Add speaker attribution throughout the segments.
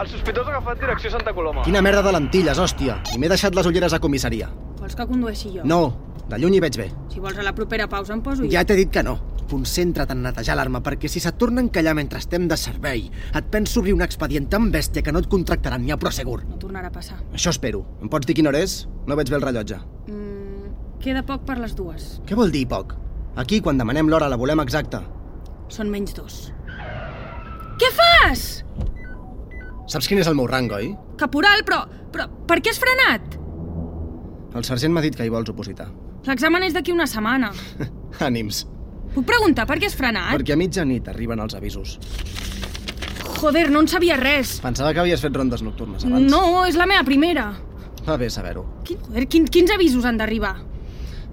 Speaker 1: El sospitós ha agafat direcció a Santa Coloma.
Speaker 2: Quina merda de lentilles, hòstia. I m'he deixat les ulleres a comissaria.
Speaker 3: Vols que condueixi jo?
Speaker 2: No, de lluny hi veig bé.
Speaker 3: Si vols a la propera pausa em poso
Speaker 2: Ja
Speaker 3: jo.
Speaker 2: t'he dit que no. Concentra't en netejar l'arma, perquè si se torna a encallar mentre estem de servei, et penso obrir un expedient tan bèstia que no et contractaran ni a Prosegur.
Speaker 3: No tornarà a passar.
Speaker 2: Això espero. Em pots dir quina hora és? No veig bé el rellotge.
Speaker 3: Mm, queda poc per les dues.
Speaker 2: Què vol dir poc? Aquí, quan demanem l'hora, la volem exacta.
Speaker 3: Són menys dos. Què fas?
Speaker 2: Saps quin és el meu rang, oi?
Speaker 3: Caporal, però... però per què has frenat?
Speaker 2: El sergent m'ha dit que hi vols opositar.
Speaker 3: L'examen és d'aquí una setmana.
Speaker 2: Ànims.
Speaker 3: Puc preguntar per què has frenat?
Speaker 2: Perquè a mitjanit arriben els avisos.
Speaker 3: Joder, no en sabia res.
Speaker 2: Pensava que havies fet rondes nocturnes abans.
Speaker 3: No, és la meva primera.
Speaker 2: Va bé saber-ho.
Speaker 3: Quin, joder, quin, quins avisos han d'arribar?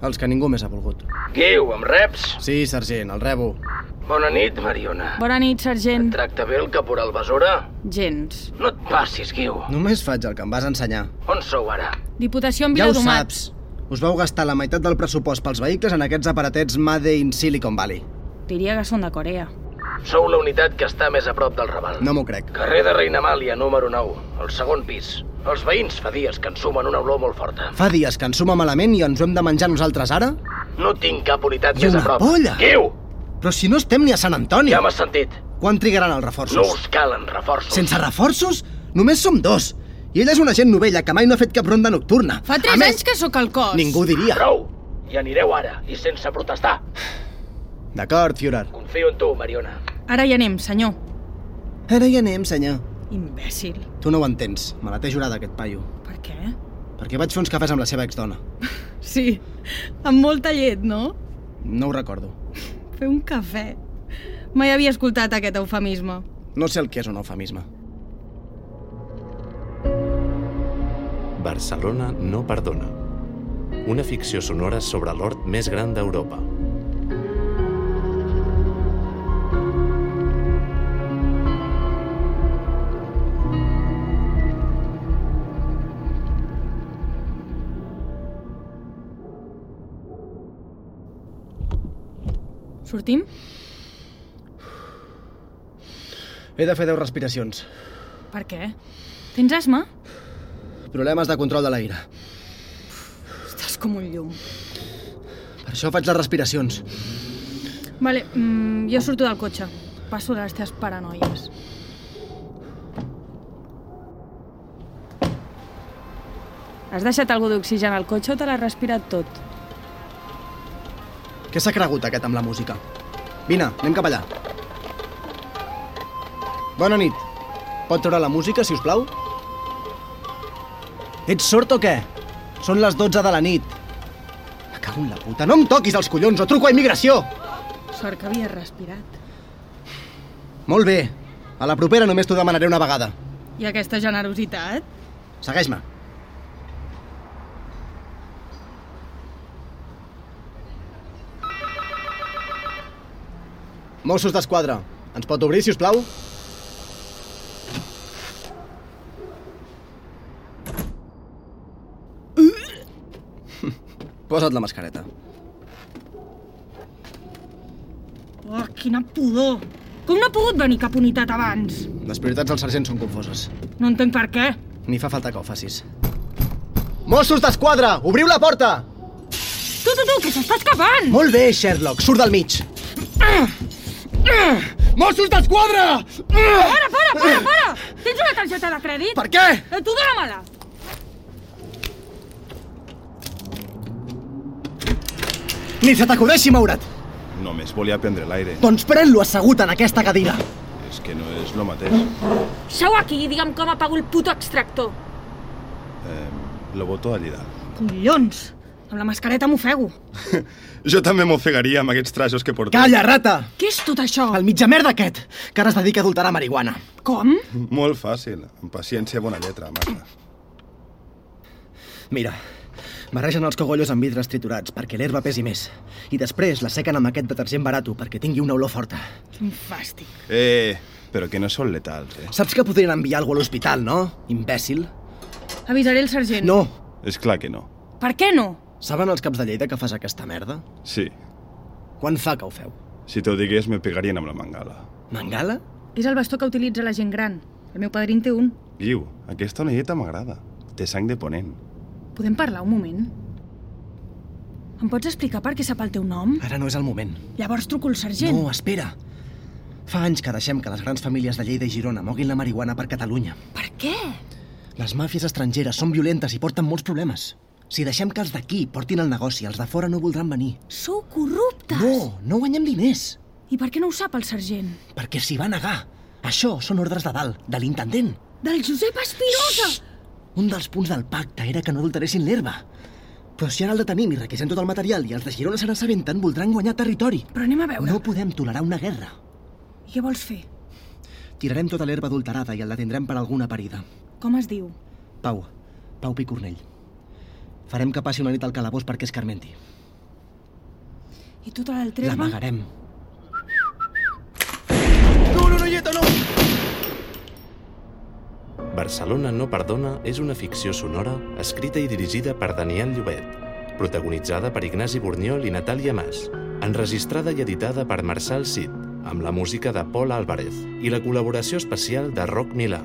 Speaker 2: Els que ningú més ha volgut.
Speaker 4: Guiu, em reps?
Speaker 2: Sí, sergent, el rebo.
Speaker 4: Bona nit, Mariona.
Speaker 3: Bona nit, sergent.
Speaker 4: Tracta bé el caporal Besora?
Speaker 3: Gens.
Speaker 4: No et passis, Guiu.
Speaker 2: Només faig el que em vas ensenyar.
Speaker 4: On sou ara?
Speaker 3: Diputació en
Speaker 2: Ja ho
Speaker 3: Viladomat.
Speaker 2: saps. Us vau gastar la meitat del pressupost pels vehicles en aquests aparatets Made in Silicon Valley.
Speaker 3: Diria que són de Corea.
Speaker 4: Sou la unitat que està més a prop del Raval.
Speaker 2: No m'ho crec.
Speaker 4: Carrer de Reina Amàlia, número 9, el segon pis. Els veïns fa dies que ensumen una olor molt forta.
Speaker 2: Fa dies que ens suma malament i ens ho hem de menjar nosaltres ara?
Speaker 4: No tinc cap unitat
Speaker 2: I
Speaker 4: més a
Speaker 2: una
Speaker 4: prop.
Speaker 2: polla!
Speaker 4: Guiu!
Speaker 2: Però si no estem ni a Sant Antoni!
Speaker 4: Ja m'has sentit.
Speaker 2: Quan trigaran els
Speaker 4: No
Speaker 2: reforços?
Speaker 4: us calen reforços.
Speaker 2: Sense reforços? Només som dos! I ella és una gent novella que mai no ha fet cap ronda nocturna.
Speaker 3: Fa tres
Speaker 2: A més,
Speaker 3: anys que sóc al cos.
Speaker 2: Ningú diria.
Speaker 4: Prou! I anireu ara, i sense protestar.
Speaker 2: D'acord, Führer.
Speaker 4: Confio en tu, Mariona.
Speaker 3: Ara hi anem, senyor.
Speaker 2: Ara hi anem, senyor.
Speaker 3: Imbècil.
Speaker 2: Tu no ho entens. Me la té jurada, aquest paio.
Speaker 3: Per què?
Speaker 2: Perquè vaig fer uns cafès amb la seva exdona.
Speaker 3: Sí, amb molta llet, no?
Speaker 2: No ho recordo.
Speaker 3: Fer un cafè. Mai havia escoltat aquest eufemisme.
Speaker 2: No sé el que és un eufemisme.
Speaker 5: Barcelona no perdona. Una ficció sonora sobre l'hort més gran d'Europa.
Speaker 3: Sortim?
Speaker 2: He de fer 10 respiracions.
Speaker 3: Per què? Tens asma?
Speaker 2: Problemes de control de l'aire.
Speaker 3: Estàs com un llum.
Speaker 2: Per això faig les respiracions.
Speaker 3: Vale, mm, jo surto del cotxe. Passo de les teves paranoies. Has deixat algú d'oxigen al cotxe o te l'has respirat tot?
Speaker 2: Què s'ha cregut aquest amb la música? Vine, anem cap allà. Bona nit. Pot treure la música, si us plau? Ets sort o què? Són les 12 de la nit. Me cago en la puta. No em toquis els collons o truco a immigració!
Speaker 3: Sort que havies respirat.
Speaker 2: Molt bé. A la propera només t'ho demanaré una vegada.
Speaker 3: I aquesta generositat?
Speaker 2: Segueix-me. Mossos d'Esquadra, ens pot obrir, si us plau? Posa't la mascareta.
Speaker 3: Oh, quina pudor! Com no ha pogut venir cap unitat abans?
Speaker 2: Les prioritats del sergent són confoses.
Speaker 3: No entenc per què.
Speaker 2: Ni fa falta que ho facis. Mossos d'Esquadra, obriu la porta!
Speaker 3: Tu, tu, tu, que s'està escapant!
Speaker 2: Molt bé, Sherlock, surt del mig. Mossos d'Esquadra!
Speaker 3: Para, para, para, para! Tens una targeta de crèdit?
Speaker 2: Per què?
Speaker 3: Eh, Tu dóna-me-la!
Speaker 2: Ni se t'acudeixi moure't.
Speaker 6: Només volia prendre l'aire.
Speaker 2: Doncs pren-lo assegut en aquesta cadira.
Speaker 6: És que no és lo mateix.
Speaker 3: Seu aquí i digue'm com apago el puto extractor.
Speaker 6: Eh, lo voto allà dalt.
Speaker 3: Collons! Amb la mascareta m'ofego.
Speaker 6: Jo també m'ofegaria amb aquests trajos que porto.
Speaker 2: Calla, rata!
Speaker 3: Què és tot això?
Speaker 2: El mitja merda aquest, que ara es dedica a adulterar marihuana.
Speaker 3: Com?
Speaker 6: Molt fàcil. Amb paciència, bona lletra, Marta.
Speaker 2: Mira, barregen els cogollos amb vidres triturats perquè l'herba pesi més. I després la sequen amb aquest detergent barato perquè tingui una olor forta.
Speaker 3: Quin fàstic.
Speaker 6: Eh, però que no són letals, eh?
Speaker 2: Saps que podrien enviar algú a l'hospital, no? Imbècil.
Speaker 3: Avisaré el sergent.
Speaker 2: No.
Speaker 6: És clar que no.
Speaker 3: Per què no?
Speaker 2: Saben els caps de Lleida que fas aquesta merda?
Speaker 6: Sí,
Speaker 2: Quan fa que ho feu?
Speaker 6: si t'ho digués me pegarien amb la mangala.
Speaker 2: Mangala?
Speaker 3: És el bastó que utilitza la gent gran.
Speaker 7: El meu padrín té un.
Speaker 6: Guiu, aquesta onelleta m'agrada. Té sang de ponent.
Speaker 7: Podem parlar un moment?
Speaker 3: Em pots explicar per què sap el teu nom?
Speaker 2: Ara no és el moment.
Speaker 3: Llavors truco al sergent.
Speaker 2: No, espera. Fa anys que deixem que les grans famílies de Lleida i Girona moguin la marihuana per Catalunya.
Speaker 3: Per què?
Speaker 2: Les màfies estrangeres són violentes i porten molts problemes. Si deixem que els d'aquí portin el negoci, els de fora no voldran venir.
Speaker 3: Sou corruptes!
Speaker 2: No, no guanyem diners,
Speaker 3: I per què no ho sap el sergent?
Speaker 2: perquè s'hi va negar. Això són ordres de dalt, de l'intendent.
Speaker 3: Del Josep Espirosa!
Speaker 2: Un dels punts del pacte era que no adulteressin l'herba. Però si ara el detenim i requisem tot el material i els de Girona se n'assabenten, voldran guanyar territori.
Speaker 3: Però anem a veure.
Speaker 2: No podem tolerar una guerra.
Speaker 3: I Què vols fer?
Speaker 2: Tirarem tota l'herba adulterada i el detindrem per alguna parida.
Speaker 3: Com es diu?
Speaker 2: Pau, Pau Picornell. Farem que passi una nit al calabós perquè es carmenti.
Speaker 3: I tu te la del Tresba?
Speaker 2: L'amagarem.
Speaker 5: Barcelona no perdona és una ficció sonora escrita i dirigida per Daniel Llobet, protagonitzada per Ignasi Borniol i Natàlia Mas, enregistrada i editada per Marçal Cid, amb la música de Paul Álvarez i la col·laboració especial de Roc Milà.